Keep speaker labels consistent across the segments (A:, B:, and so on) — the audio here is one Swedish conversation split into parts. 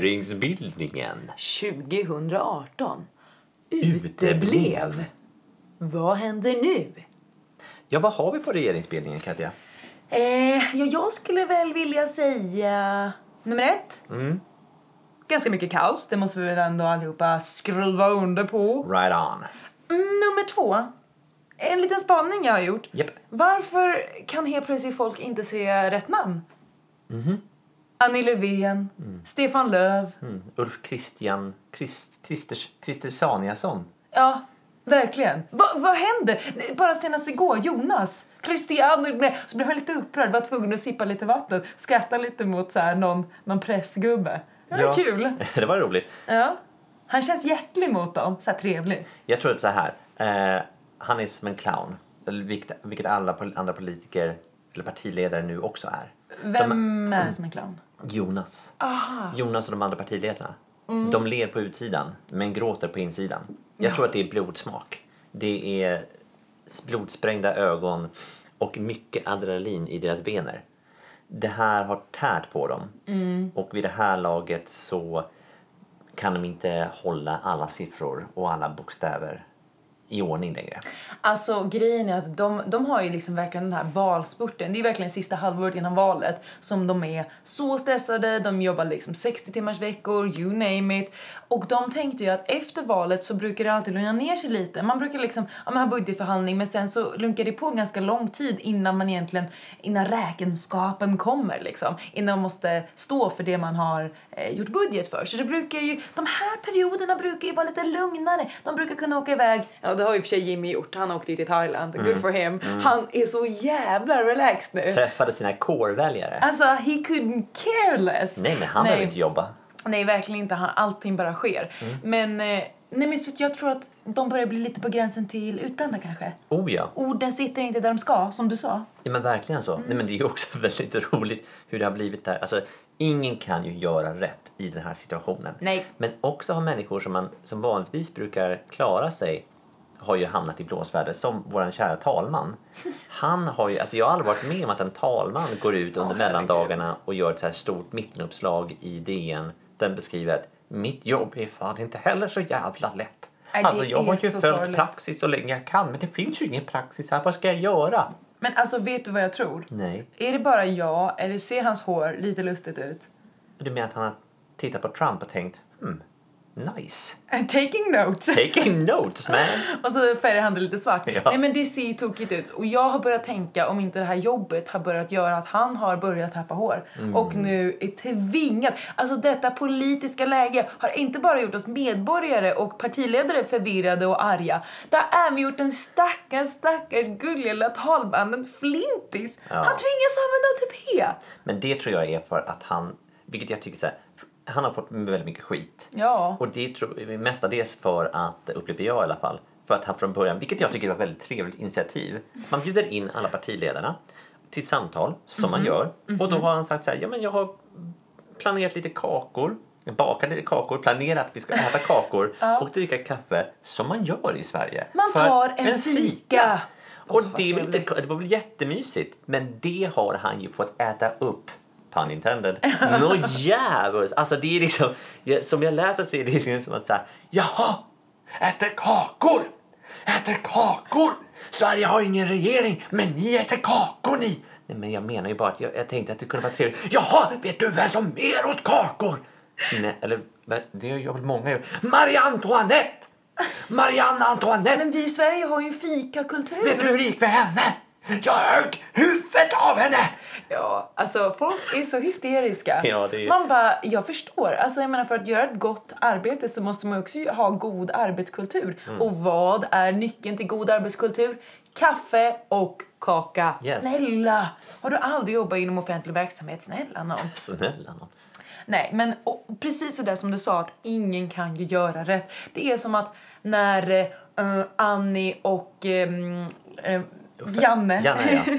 A: regeringsbildningen.
B: 2018.
A: Uteblev.
B: Vad händer nu?
A: Ja, vad har vi på regeringsbildningen, Katja?
B: Eh, ja, jag skulle väl vilja säga nummer ett. Ganska mycket kaos, det måste vi väl ändå allihopa skruva under på.
A: Right on.
B: Mm, nummer två. En liten spaning jag har gjort.
A: Japp.
B: Varför kan helt plötsligt folk inte se rätt namn? Annie Löfven, Stefan Löf.
A: Mm. Ulf Christian Christ, Christers, Christer Saniasson.
B: Ja, verkligen. Va, vad händer? Nej, Bara senast igår, Jonas, Christian, nej, så blev han lite upprörd, var tvungen att sippa lite vatten, skratta lite mot så här, någon, någon pressgubbe. Det var
A: Ja.
B: kul.
A: det var roligt.
B: Ja. Han känns hjärtlig mot dem, så här trevlig.
A: Jag tror att så här. Eh, han är som en clown. Eller Vilket, vilket alla pol- andra politiker eller partiledare nu också är.
B: Vem är det som är clown?
A: Jonas. Jonas och de andra partiledarna. De ler på utsidan men gråter på insidan. Jag tror att det är blodsmak. Det är s- blodsprängda ögon och mycket adrenalin i deras bener. Det här har tärt på dem och vid det här laget så kan de inte hålla alla siffror och alla bokstäver i ordning längre.
B: Alltså grejen är att de, de har ju liksom verkligen den här valspurten. Det är ju verkligen sista halvåret innan valet som de är så stressade. De jobbar liksom 60 timmars veckor, you name it. Och de tänkte ju att efter valet så brukar det alltid lugna ner sig lite. Man brukar liksom ja, man ha budgetförhandling men sen så lunkar det på ganska lång tid innan man egentligen, innan räkenskapen kommer liksom. Innan man måste stå för det man har eh, gjort budget för. Så det brukar ju, de här perioderna brukar ju vara lite lugnare. De brukar kunna åka iväg. Ja, det har ju i och för sig Jimmy gjort. Han åkte ju till Thailand. Good for him. Han är så jävla relaxed nu.
A: Träffade sina core-väljare.
B: Alltså, he couldn't care less.
A: Nej, men han behöver inte jobba.
B: Nej, verkligen inte. Han- Allting bara sker. Men, eh, nej, men så att jag tror att de börjar bli lite på gränsen till utbrända kanske.
A: Oh ja.
B: Orden sitter inte där de ska, som du sa.
A: Ja men verkligen så. Nej, men det är ju också väldigt roligt hur det har blivit där. Alltså, ingen kan ju göra rätt i den här situationen.
B: Nej.
A: Men också har människor som man som vanligtvis brukar klara sig har ju hamnat i blåsväder, som vår kära talman. Han har ju, alltså jag har aldrig varit med om att en talman går ut under mellandagarna och gör ett så här stort mittenuppslag i DN där den beskriver att mitt jobb är fan inte heller så jävla lätt.
B: Nej, det
A: alltså jag har
B: är
A: ju
B: så
A: följt
B: sorgligt.
A: praxis så länge jag kan men det finns ju ingen praxis här, vad ska jag göra?
B: Men alltså, vet du vad jag tror?
A: Nej.
B: Är det bara jag, eller ser hans hår lite lustigt ut?
A: Du menar att han har tittat på Trump och tänkt hmm, nice.
B: Taking notes!
A: Taking notes man!
B: Och så färgar han det Alltså, lite svart.
A: Ja.
B: Nej men det ser ju tokigt ut. Och jag har börjat tänka om inte det här jobbet har börjat göra att han har börjat tappa hår.
A: Mm.
B: Och nu är tvingad. Alltså detta politiska läge har inte bara gjort oss medborgare och partiledare förvirrade och arga. Det har även gjort den stackars, stackars gulliga lilla talmannen Flintis. Han tvingas använda tupé.
A: Men det tror jag är för att han, vilket jag tycker så här, han har fått väldigt mycket skit.
B: Ja.
A: Och det tror, mestadels för att, upplever jag i alla fall, för att han från början, vilket jag tycker var ett väldigt trevligt initiativ, man bjuder in alla partiledarna till samtal, som
B: Mhm.
A: man gör. Och då har han sagt så här, ja men jag har planerat lite kakor, bakat lite kakor, planerat att vi ska äta kakor och dricka kaffe, som man gör i Sverige.
B: Man
A: För
B: tar en fika.
A: Och
B: Åh, vad
A: det, är väl
B: trevligt.
A: lite, det var väl jättemysigt, men det har han ju fått äta upp. Pun intended. Nå jävus! Alltså det är liksom, jag- som jag läser så är det liksom som att säga Jaha! Äter kakor! Äter kakor! Sverige har ingen regering, men ni äter kakor ni! Nej men jag menar ju bara att jag, jag tänkte att det kunde vara trevligt. Jaha! Vet du vem som mer åt kakor? Nej, eller men det har jag väl många gjort. Marie Antoinette! Marianne Antoinette!
B: Men vi i Sverige har ju en fikakultur.
A: Vet du hur det gick med henne? Jag högg huvudet av henne!
B: Ja, alltså folk är så hysteriska.
A: Ja, det är-
B: Man bara, jag förstår. Alltså jag menar för att göra ett gott arbete så måste man också ju ha god arbetskultur.
A: Mm.
B: Och vad är nyckeln till god arbetskultur? Kaffe och kaka.
A: Yes.
B: Snälla! Har du aldrig jobbat inom offentlig verksamhet? Snälla någon.
A: Snälla nån.
B: Nej, men och, precis så där som du sa att ingen kan ju göra rätt. Det är som att när eh, eh, Annie och eh, mm, eh, Janne...
A: Janne, ja.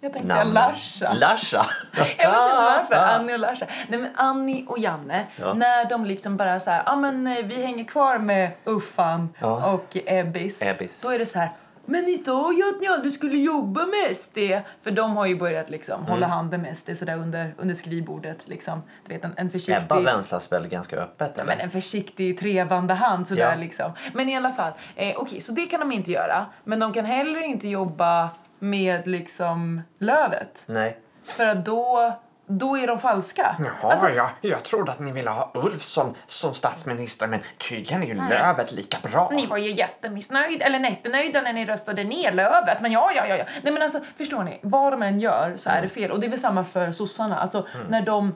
B: jag tänkte säga Larsa.
A: Larsa?
B: Jag vet inte varför. Annie och Larsa. Nej, men Annie och Janne,
A: Ah. Ja.
B: när de liksom bara så här, ah, men eh, vi hänger kvar med Uffan
A: Ja.
B: och Ebbis.
A: Ebbis.
B: Då är det så här, Men ni sa ju att ni aldrig skulle jobba med SD. För de har ju börjat liksom
A: Mm.
B: hålla handen med SD sådär under, under skrivbordet. Liksom. Du vet, en, en försiktig...
A: Ebba vänslas väl ganska öppet?
B: Ja, men en försiktig trevande hand sådär
A: Ja.
B: liksom. Men i alla fall, eh, okej, så det kan de inte göra. Men de kan heller inte jobba med liksom lövet.
A: Nej.
B: För att då, då är de falska. Alltså,
C: Jaha,
A: Alltså-
C: jag, jag trodde att ni ville ha Ulf som, som statsminister men tydligen är ju Löfvet lika bra.
B: Ni var ju jättemissnöjd, eller nettenöjda när ni röstade ner Löfvet. Men ja, ja, ja, ja. Nej men alltså, förstår ni? Vad de än gör så är det fel. Och det är väl samma för sossarna. Alltså när, de,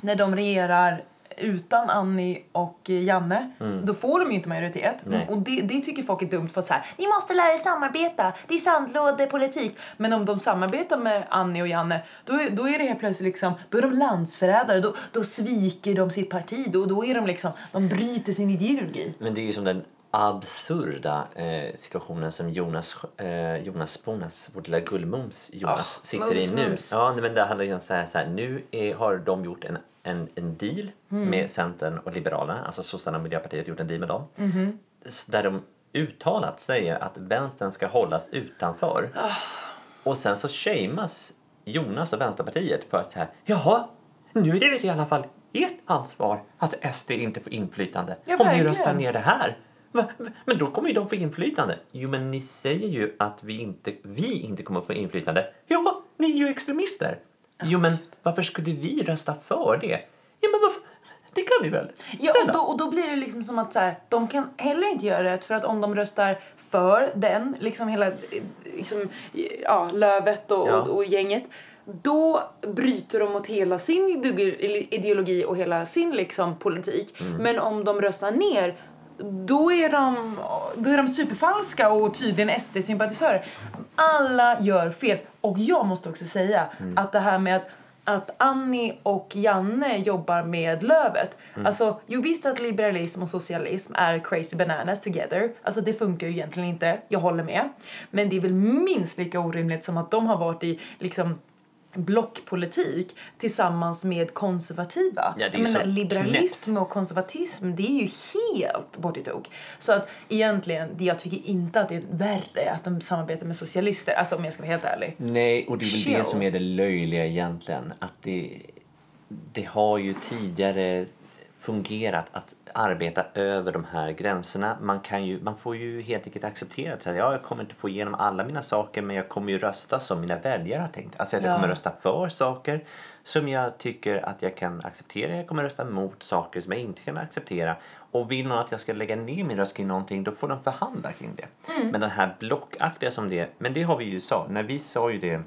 B: när de regerar utan Annie och eh, Janne, då får de ju inte majoritet.
A: Nej.
B: Och det, det tycker folk är dumt för att så här, ni måste lära er samarbeta, det är sandlådepolitik. Men om de samarbetar med Annie och Janne, då, är- då är det helt plötsligt liksom, då är de landsförrädare, då, då sviker de sitt parti, då, då är de liksom, de bryter sin ideologi.
A: Men det är ju som den absurda eh, situationen som Jonas, eh, Jonas Bonas, vår lilla gullmums Jonas,
B: Ah,
A: sitter
B: mums,
A: i nu.
B: mums.
A: Ja, nej, men det handlar ju om så här, så här nu är, har de gjort en, en, en deal
B: Mm.
A: med Centern och Liberalerna, alltså sossarna och Miljöpartiet gjort en deal med dem.
B: Mm-hmm.
A: S- Där de uttalat säger att vänstern ska hållas utanför.
B: Ah.
A: Och sen så shameas Jonas och Vänsterpartiet för att så här, jaha, nu är det väl i alla fall ert ansvar att SD inte får inflytande
B: Ja,
A: om ni
B: verkligen.
A: röstar ner det här. Va? Va? Men då kommer ju de få inflytande. Jo, men ni säger ju att vi inte, vi inte kommer få inflytande. Ja, ni är ju extremister. Jo, men varför skulle vi rösta för det? Ja, men varför? Det kan ni väl?
B: Ja, och
A: Snälla.
B: då, och då blir det liksom som att så här, de kan heller inte göra rätt för att om de röstar för den, liksom hela eh, liksom, ja, Lövet och,
A: Ja.
B: och, och gänget, då bryter de mot hela sin ideologi- ideologi och hela sin liksom, politik. Men om de röstar ner då är, de, då är de superfalska och tydligen SD-sympatisörer. Alla gör fel. Och jag måste också säga att det här med att att Annie och Janne jobbar med Lövet.
A: Mm.
B: Alltså, jo visst att liberalism och socialism är crazy bananas together. Alltså det funkar ju egentligen inte, jag håller med. Men det är väl minst lika orimligt som att de har varit i liksom blockpolitik tillsammans med konservativa.
A: Ja, det är
B: jag
A: ju
B: menar,
A: så
B: liberalism och konservatism, det är ju helt bort i tok. Så att egentligen, det- jag tycker inte att det är värre att de samarbetar med socialister, alltså om jag ska vara helt ärlig.
A: Nej, och det är väl
B: Chill.
A: det som är det löjliga egentligen. Att det, det har ju tidigare fungerat att arbeta över de här gränserna. Man, kan ju, man får ju helt enkelt acceptera att så här, ja, jag kommer inte få igenom alla mina saker men jag kommer ju rösta som mina väljare har tänkt. Alltså att jag
B: Ja.
A: kommer rösta för saker som jag tycker att jag kan acceptera. Jag kommer rösta mot saker som jag inte kan acceptera. Och vill någon att jag ska lägga ner min röst kring någonting då får de förhandla kring det. Men den här blockaktiga som det men det har vi ju sa. När vi sa ju det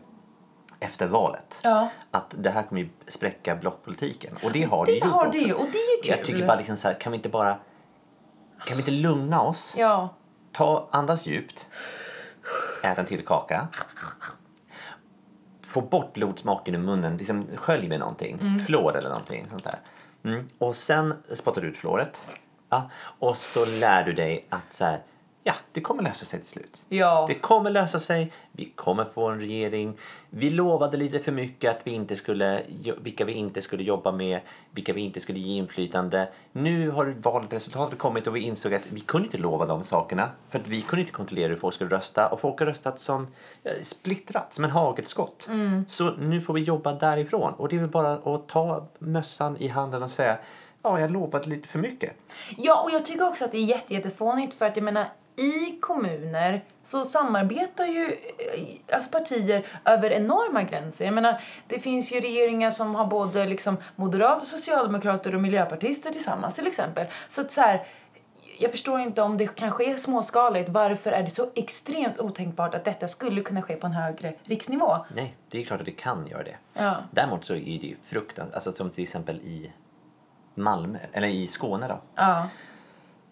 A: efter valet.
B: Ja.
A: Att det här kommer ju spräcka blockpolitiken. Och det har det,
B: Det
A: gjort
B: har
A: också.
B: det ju, och det är ju kul.
A: Jag tycker bara liksom så här, kan vi inte bara... Kan vi inte lugna oss?
B: Ja.
A: Ta, andas djupt. Ät en till kaka. Få bort blodsmaken ur munnen. Liksom skölj med någonting.
B: Mm.
A: Flår eller någonting sånt där. Mm. Och sen spottar du ut flåret. Ja. Och så lär du dig att så här, ja, det kommer lösa sig till slut.
B: Ja.
A: Det kommer lösa sig. Vi kommer få en regering. Vi lovade lite för mycket att vi inte skulle, jo- vilka vi inte skulle jobba med, vilka vi inte skulle ge inflytande. Nu har valresultatet kommit och vi insåg att vi kunde inte lova de sakerna för att vi kunde inte kontrollera hur folk skulle rösta och folk har röstat som eh, splittrat, som en hagelskott. Så nu får vi jobba därifrån och det är väl bara att ta mössan i handen och säga ja, jag lovat lite för mycket.
B: Ja, och jag tycker också att det är jätte, jättefånigt för att jag menar i kommuner så samarbetar ju eh, alltså partier över enorma gränser. Jag menar, det finns ju regeringar som har både liksom moderater, socialdemokrater och miljöpartister tillsammans till exempel. Så att så här, jag förstår inte om det kanske är småskaligt. Varför är det så extremt otänkbart att detta skulle kunna ske på en högre riksnivå?
A: Nej, det är klart att det kan göra det.
B: Ja.
A: Däremot så är det ju fruktansvärt, alltså som till exempel i Malmö, eller i Skåne då.
B: Ja.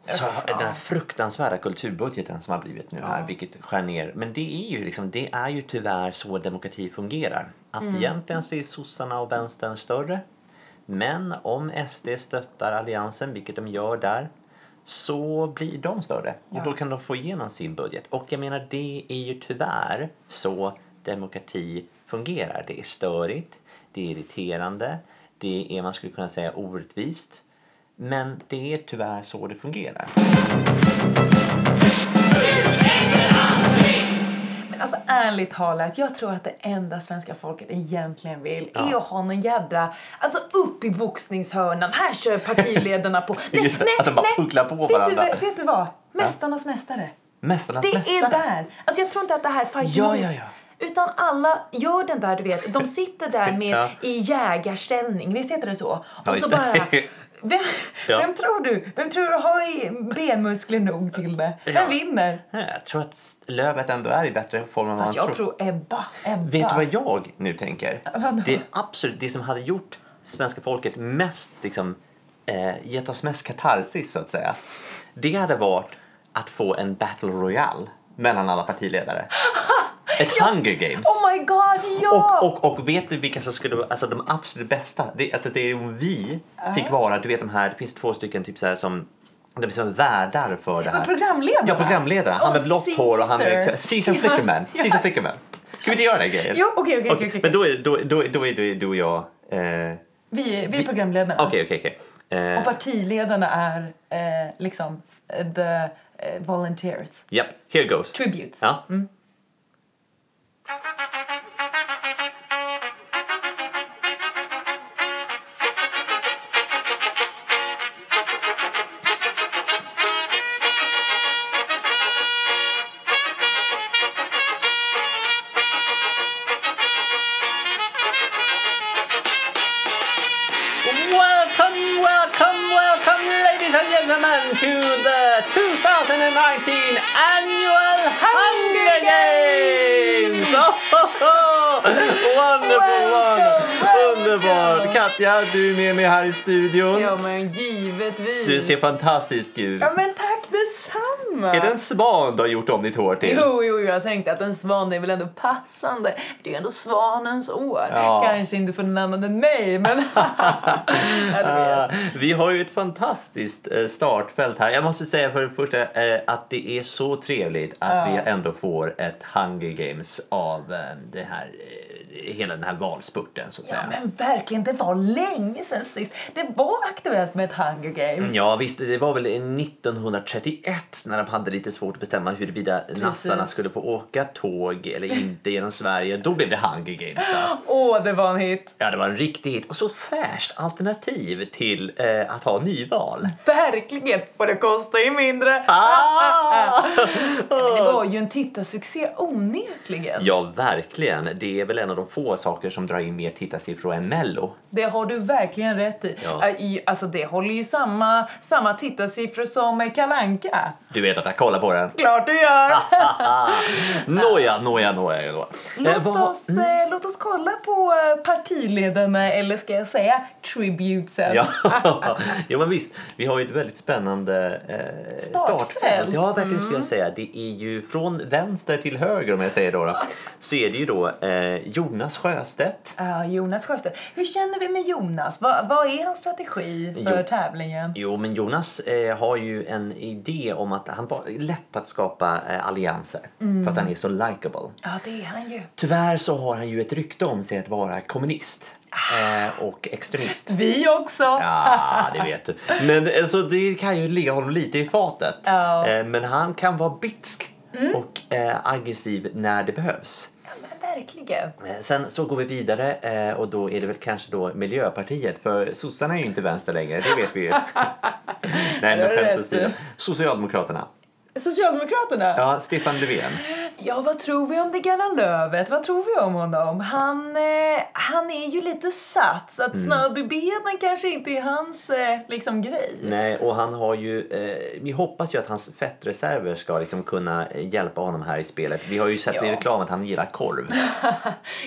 A: Så den här fruktansvärda kulturbudgeten som har blivit nu här, vilket skär ner. Men det är ju liksom, det är ju tyvärr så demokrati fungerar. Att egentligen så är sossarna och vänstern större. Men om SD stöttar alliansen, vilket de gör där, så blir de större. Och då kan de få igenom sin budget. Och jag menar, det är ju tyvärr så demokrati fungerar. Det är störigt, det är irriterande, det är, man skulle kunna säga, orättvist. Men det är tyvärr så det fungerar.
B: Men alltså ärligt talat, jag tror att det enda svenska folket egentligen vill är att ha någon jädra, alltså upp i boxningshörnan, här kör partiledarna på. Nej,
A: Just det, att de bara pucklar på
B: vet du
A: varandra.
B: vad- vet du vad? Mästarnas mästare.
A: Mästarnas
B: Det
A: mästare.
B: är där. Alltså jag tror inte att det här fight
A: Ja, ja, ja.
B: Utan alla gör den där, du vet, de sitter där med
A: Ja.
B: i jägarställning, visst heter det så? Och
A: just
B: så
A: det.
B: bara, vem,
A: Ja.
B: vem tror du? Vem tror du har i benmuskler nog till det? Vem
A: Ja.
B: vinner?
A: Nej, Jag tror att Lövet ändå är i bättre form än vad han
B: Fast jag
A: tror.
B: tror Ebba, Ebba.
A: Vet du vad jag nu tänker?
B: Vadå?
A: Det är absolut det som hade gjort svenska folket mest, liksom, eh, gett oss mest katarsis så att säga. Det hade varit att få en battle royale mellan alla partiledare. Ett hunger games.
B: Oh my god, ja!
A: Och, och, och vet du vilka som skulle vara alltså, de absolut bästa? Det, alltså, det är om vi fick vara, du vet de här, det finns två stycken typ så här som de är som värdar för det här.
B: programledare?
A: Ja, programledare. Han med
B: Oh,
A: blått hår och han med...
B: Caesar.
A: Caesar Flickerman. Caesar Flickerman. Kan vi inte göra den här grejen?
B: Jo, okej, okej,
A: Okej,
B: okej.
A: Men
B: okej.
A: då är, då, då, då är du, du och jag... eh,
B: Vi, vi är programledarna.
A: Okej, okej, okej. Eh,
B: Och partiledarna är eh, liksom eh, the eh, volunteers.
A: Japp, here goes.
B: Tributes.
A: Ja. Welcome, welcome, welcome, ladies and gentlemen, to the 2019 annual Hunger Games! Oh, ho, ho! Wonderful one!
B: Welcome,
A: Underbart!
B: welcome.
A: Katja, du är med mig här i studion.
B: Ja, men givetvis.
A: Du ser fantastisk ut.
B: Ja, men tack detsamma!
A: Är det en svan du har gjort om ditt hår till?
B: Jo, jo, jag tänkte att en svan är väl ändå passande. Det är ändå svanens år.
A: Ja.
B: Kanske inte för någon annan än mig, men... ja, du vet.
A: Ah, Vi har ju ett fantastiskt eh, startfält här. Jag måste säga för det första eh, att det är så trevligt att vi ändå får ett Hunger Games av eh, det här, eh, hela den här valspurten så att
B: Ja,
A: säga.
B: men verkligen, det var länge sedan sist. Det var aktuellt med ett Hunger Games.
A: Ja visst, det var väl 1931 när de hade lite svårt att bestämma huruvida nassarna skulle få åka tåg eller inte genom Sverige. Då blev det Hunger Games där.
B: Åh, det var en hit.
A: Ja, det var en riktig hit. Och så fräscht alternativ till eh, att ha nyval.
B: Verkligen! Och det kostar ju mindre.
A: Ah!
B: Men det var ju en tittarsuccé onekligen.
A: Ja, verkligen. Det är väl en av de få saker som drar in mer tittarsiffror än Mello.
B: Det har du verkligen rätt i.
A: Ja.
B: Äh, i- Alltså, det håller ju samma, samma tittarsiffror som eh, Kalle Anka.
A: Du vet att jag kollar på den.
B: Klart du gör!
A: Ah. Nåja, nåja, nåja. nåja. Eh,
B: Låt
A: vad-
B: oss, eh, låt oss kolla på eh, partiledarna, eller ska jag säga tributesen.
A: Ja. ja, men visst. Vi har ju ett väldigt spännande eh,
B: Startfält. Mm.
A: startfält. Ja, verkligen skulle jag säga. Det är ju från vänster till höger om jag säger då. då så är det ju då eh, Jonas Sjöstedt.
B: Ja, Ah, Jonas Sjöstedt. Hur känner vi med Jonas? Vad, vad är hans strategi för
A: Jo.
B: tävlingen?
A: Jo, men Jonas eh, har ju en idé om att han bara är lätt på att skapa eh, allianser. För
B: Mm.
A: att han är så likable.
B: Ja, det är han ju.
A: Tyvärr så har han ju ett rykte om sig att vara kommunist
B: Ah.
A: eh, och extremist.
B: Vi också!
A: Ja, det vet du. Men alltså, det kan ju ligga honom lite i fatet.
B: Ja. Mm.
A: Eh, men han kan vara bitsk och eh, aggressiv när det behövs.
B: Ja, men verkligen.
A: Eh, Sen så går vi vidare eh, och då är det väl kanske då Miljöpartiet för sossarna är ju inte vänster längre, det vet vi ju. Nej, men
B: Det vet
A: skämt
B: du.
A: åsido. Socialdemokraterna.
B: Socialdemokraterna?
A: Ja, Stefan Löfven.
B: Ja, vad tror vi om det gamla Lövet? Vad tror vi om honom? Han, eh, han är ju lite satt, så att
A: Mm.
B: snabb i benen kanske inte är hans eh, liksom, grej.
A: Nej, och han har ju... Eh, vi hoppas ju att hans fettreserver ska liksom kunna eh, hjälpa honom här i spelet. Vi har ju sett i
B: Ja.
A: reklamen att han gillar korv.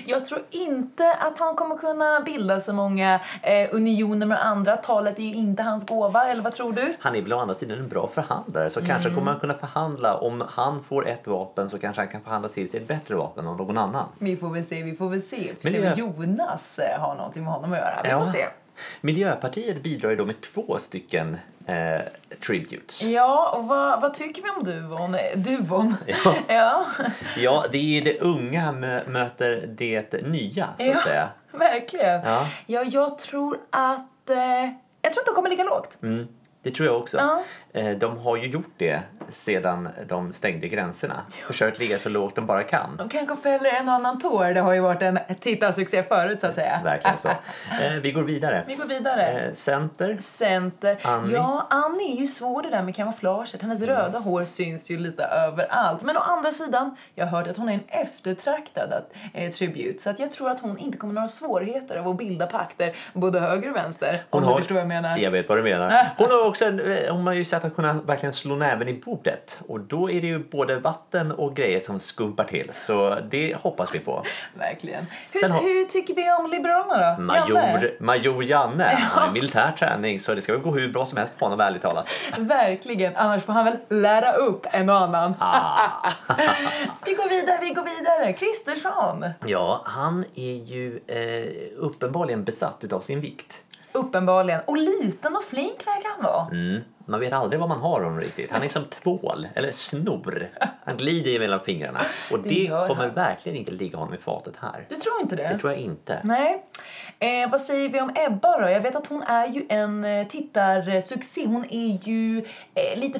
B: Jag tror inte att han kommer kunna bilda så många eh, unioner med andra. Talet är ju inte hans gåva, eller vad tror du?
A: Han är väl å andra sidan en bra förhandlare så kanske
B: Mm.
A: kommer han kunna förhandla. Om han får ett vapen så kanske han kan förhandla till sig ett bättre vapen av någon annan.
B: Vi får väl se, vi får väl se. Vi får
A: Men
B: se
A: det
B: om
A: är-
B: Jonas eh, har någonting med honom att göra. Vi
A: Ja.
B: får se.
A: Miljöpartiet bidrar ju då med två stycken eh, tributes.
B: Ja, och vad, vad tycker vi om duvon? Duvon?
A: Ja.
B: ja.
A: Ja, det är det unga mö- möter det nya, så att
B: Ja,
A: säga.
B: Verkligen.
A: Ja.
B: Ja, jag tror att... Eh, jag tror att de kommer ligga lågt.
A: Mm. Det tror jag också.
B: Ja.
A: Eh, De har ju gjort det sedan de stängde gränserna. Försökt ligga så lågt de bara kan.
B: De kanske fäller en och annan tår. Det har ju varit en tittarsuccé förut så att säga.
A: Verkligen så. Eh, Vi går vidare.
B: Vi går vidare.
A: Eh, Center.
B: Center.
A: Annie. Mm.
B: Ja, Annie är ju svår det där med kamouflaget. Hennes röda hår syns ju lite överallt. Men å andra sidan, jag har hört att hon är en eftertraktad att, eh, tribut. Så att jag tror att hon inte kommer några svårigheter av att bilda pakter både höger och vänster. Om du förstår vad jag menar.
A: Jag vet vad du menar. Hon har, också en, eh, hon har ju sett att kunna verkligen slå näven i bordet. Och då är det ju både vatten och grejer som skumpar till. Så det hoppas vi på.
B: Verkligen.
A: Sen
B: Hur,
A: har-
B: hur tycker vi om Liberalerna då? Janne?
A: Major, major Janne, han har ju militär träning så det ska väl gå hur bra som helst för honom ärligt talat.
B: Verkligen. Annars får han väl lära upp en och annan.
A: Ah.
B: Vi går vidare, vi går vidare. Kristersson.
A: Ja, han är ju eh, uppenbarligen besatt utav sin vikt.
B: Uppenbarligen. Och liten och flink verkar han vara.
A: Mm. Man vet aldrig vad man har honom riktigt. Han är som tvål, eller snor. Han glider ju mellan fingrarna. Och det,
B: Det gör
A: kommer
B: han.
A: verkligen inte ligga honom i fatet här.
B: Du tror inte det?
A: Det tror jag inte.
B: Nej. Eh, vad säger vi om Ebba då? Jag vet att hon är ju en eh, tittarsuccé. Hon är ju eh, lite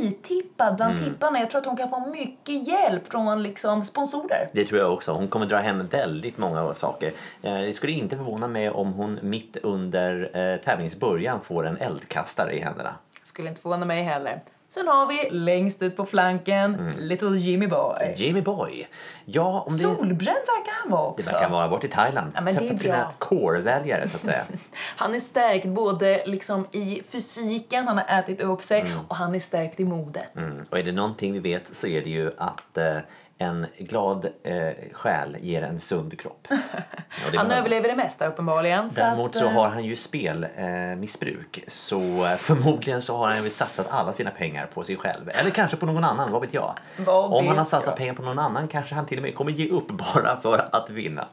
B: favorittippad bland
A: Mm.
B: tittarna. Jag tror att hon kan få mycket hjälp från liksom, sponsorer.
A: Det tror jag också. Hon kommer dra hem väldigt många saker. Eh, Det skulle inte förvåna mig om hon mitt under eh, tävlingsbörjan får en eldkastare i händerna.
B: Skulle inte förvåna mig heller. Sen har vi längst ut på flanken,
A: Mm.
B: Little Jimmy Boy.
A: Jimmy Boy. Ja, om det...
B: Solbränd verkar han vara
A: Det
B: också.
A: verkar vara bort i Thailand.
B: Ja, men det är
A: Träffat
B: bra.
A: sina core-väljare så att säga.
B: Han är stärkt både liksom i fysiken, han har ätit upp sig, och han är stärkt i modet.
A: Mm. Och är det någonting vi vet så är det ju att eh, en glad eh, själ ger en sund kropp. Ja, det
B: Han
A: behöver-
B: överlever det mesta uppenbarligen. så
A: Däremot
B: att,
A: så
B: eh,
A: har han ju spelmissbruk eh, missbruk. så eh, förmodligen så har han väl satsat alla sina pengar på sig själv. Eller kanske på någon annan, vad vet jag.
B: Vad
A: Om han
B: vet
A: har satsat
B: jag?
A: pengar på någon annan kanske han till och med kommer ge upp bara för att vinna.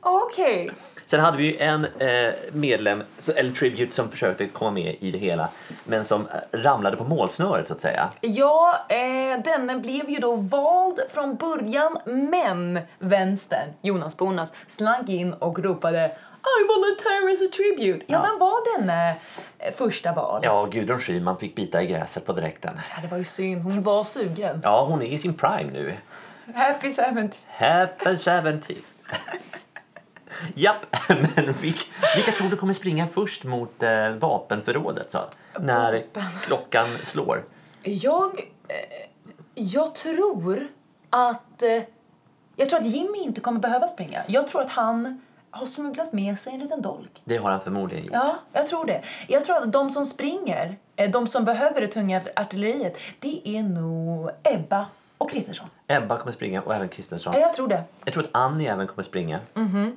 B: Okej.
A: Sen hade vi ju en eh, medlem, så- eller tribute, som försökte komma med i det hela men som eh, ramlade på målsnöret så att säga.
B: Ja, eh, denne blev ju då vald från början, men vänstern, Jonas Bonas, slank in och ropade I volunteer as a tribute. Ja, vem var denne eh, första val?
A: Ja, Gudrun Schyman fick bita i gräset på direkten.
B: Ja, Det var ju synd, hon var sugen.
A: Ja, hon är i sin prime nu.
B: Happy 70.
A: Happy 70. Japp, men vilka, vilka tror du kommer springa först mot eh, vapenförrådet så? När klockan slår?
B: Jag, eh, jag tror att... Eh, jag tror att Jimmy inte kommer behöva springa. Jag tror att han har smugglat med sig en liten dolk.
A: Det har han förmodligen gjort.
B: Ja, jag tror det. Jag tror att de som springer, eh, de som behöver det tunga artilleriet, det är nog Ebba och Kristersson.
A: Ebba kommer springa och även Kristensson.
B: Ja, jag tror det.
A: Jag tror att Annie även kommer springa. Eh,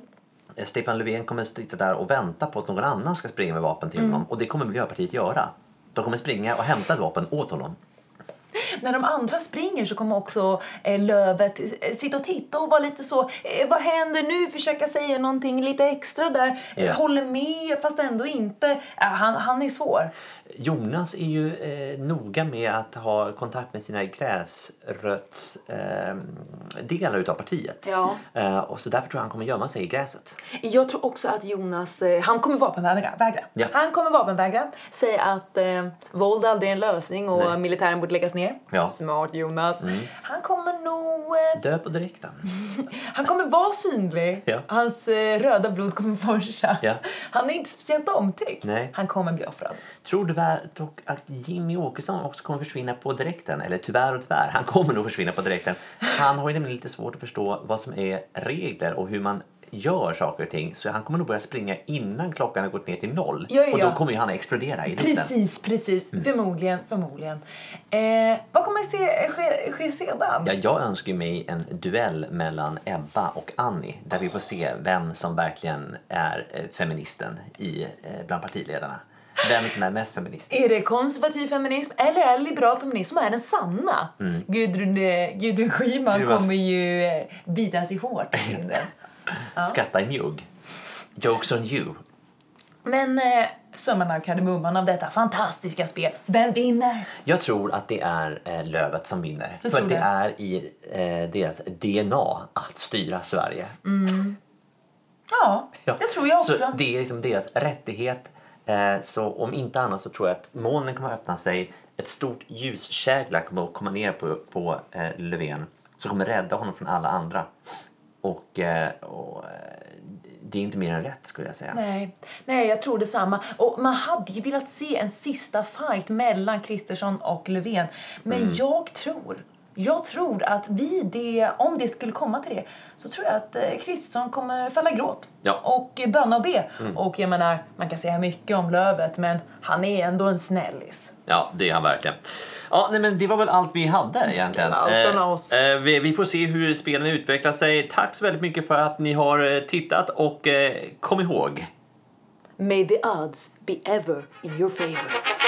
A: Stefan Löfven kommer sitta där och vänta på att någon annan ska springa med vapen till honom. Och det kommer Miljöpartiet göra. De kommer springa och hämta ett vapen åt honom.
B: När de andra springer så kommer också eh, Lövet eh, sitta och titta och vara lite så, eh, vad händer nu? Försöka säga någonting lite extra där.
A: Ja.
B: Håller med fast ändå inte. Ja, han, han är svår.
A: Jonas är ju eh, noga med att ha kontakt med sina gräsrötsdelar eh, delar utav partiet.
B: Ja.
A: Eh, och så därför tror jag han kommer gömma sig i gräset.
B: Jag tror också att Jonas, eh, han kommer vapenvägra. Vägra.
A: Ja.
B: Han kommer vapenvägra, säga att eh, våld aldrig är en lösning och
A: Nej.
B: militären borde läggas ner.
A: Ja. Mm.
B: Smart Jonas. Han kommer nog, eh,
A: Dö på direkten.
B: han kommer vara synlig.
A: Ja.
B: Hans eh, röda blod kommer forsa.
A: Ja.
B: Han är inte speciellt omtyckt.
A: Nej.
B: Han kommer bli offrad.
A: Tror du väl dock att Jimmy Åkesson också kommer försvinna på direkten? Eller tyvärr och tyvärr, han kommer nog försvinna på direkten. Han har ju nämligen lite svårt att förstå vad som är regler och hur man gör saker och ting. Så han kommer nog börja springa innan klockan har gått ner till noll.
B: Ja, ja,
A: Och då
B: ja.
A: kommer ju han att explodera i luften.
B: Precis, precis.
A: Mm.
B: Förmodligen, förmodligen. Eh, vad kommer se, ske, ske sedan?
A: Ja, jag önskar ju mig en duell mellan Ebba och Annie där vi får se vem som verkligen är eh, feministen i, eh, bland partiledarna. Vem som är mest feminist.
B: Är det konservativ feminism eller är det liberal feminism som är den sanna? Gudrun, eh, Gudrun Schyman
A: Mm. Gud, vad-
B: kommer ju eh, bita sig hårt kring det.
A: Skratta i mjugg. Jokes on you.
B: Men eh, summan av kardemumman av detta fantastiska spel, vem vinner?
A: Jag tror att det är eh, Lövet som vinner.
B: Jag
A: För
B: tror
A: att det är
B: det.
A: i eh, deras DNA att styra Sverige.
B: Ja,
A: Ja.
B: det tror jag också.
A: Så det är liksom deras rättighet Eh, så om inte annat så tror jag att molnen kommer att öppna sig. Ett stort ljuskägla kommer att komma ner på, på eh, Löfven som kommer rädda honom från alla andra. Och, eh, och eh, det är inte mer än rätt skulle jag säga.
B: Nej, nej, jag tror detsamma. Och man hade ju velat se en sista fight mellan Kristersson och Löfven. Men jag tror, jag tror att vi det, om det skulle komma till det, så tror jag att eh, Kristersson kommer falla i gråt.
A: Ja.
B: Och eh, böna och be. Och jag menar, man kan säga mycket om Lövet, men han är ändå en snällis.
A: Ja, det är han verkligen. Ja, nej, men det var väl allt vi hade egentligen.
B: Allt från
A: Eh,
B: oss.
A: eh, vi, vi får se hur spelen utvecklar sig. Tack så väldigt mycket för att ni har eh, tittat och eh, kom ihåg.
D: May the odds be ever in your favor.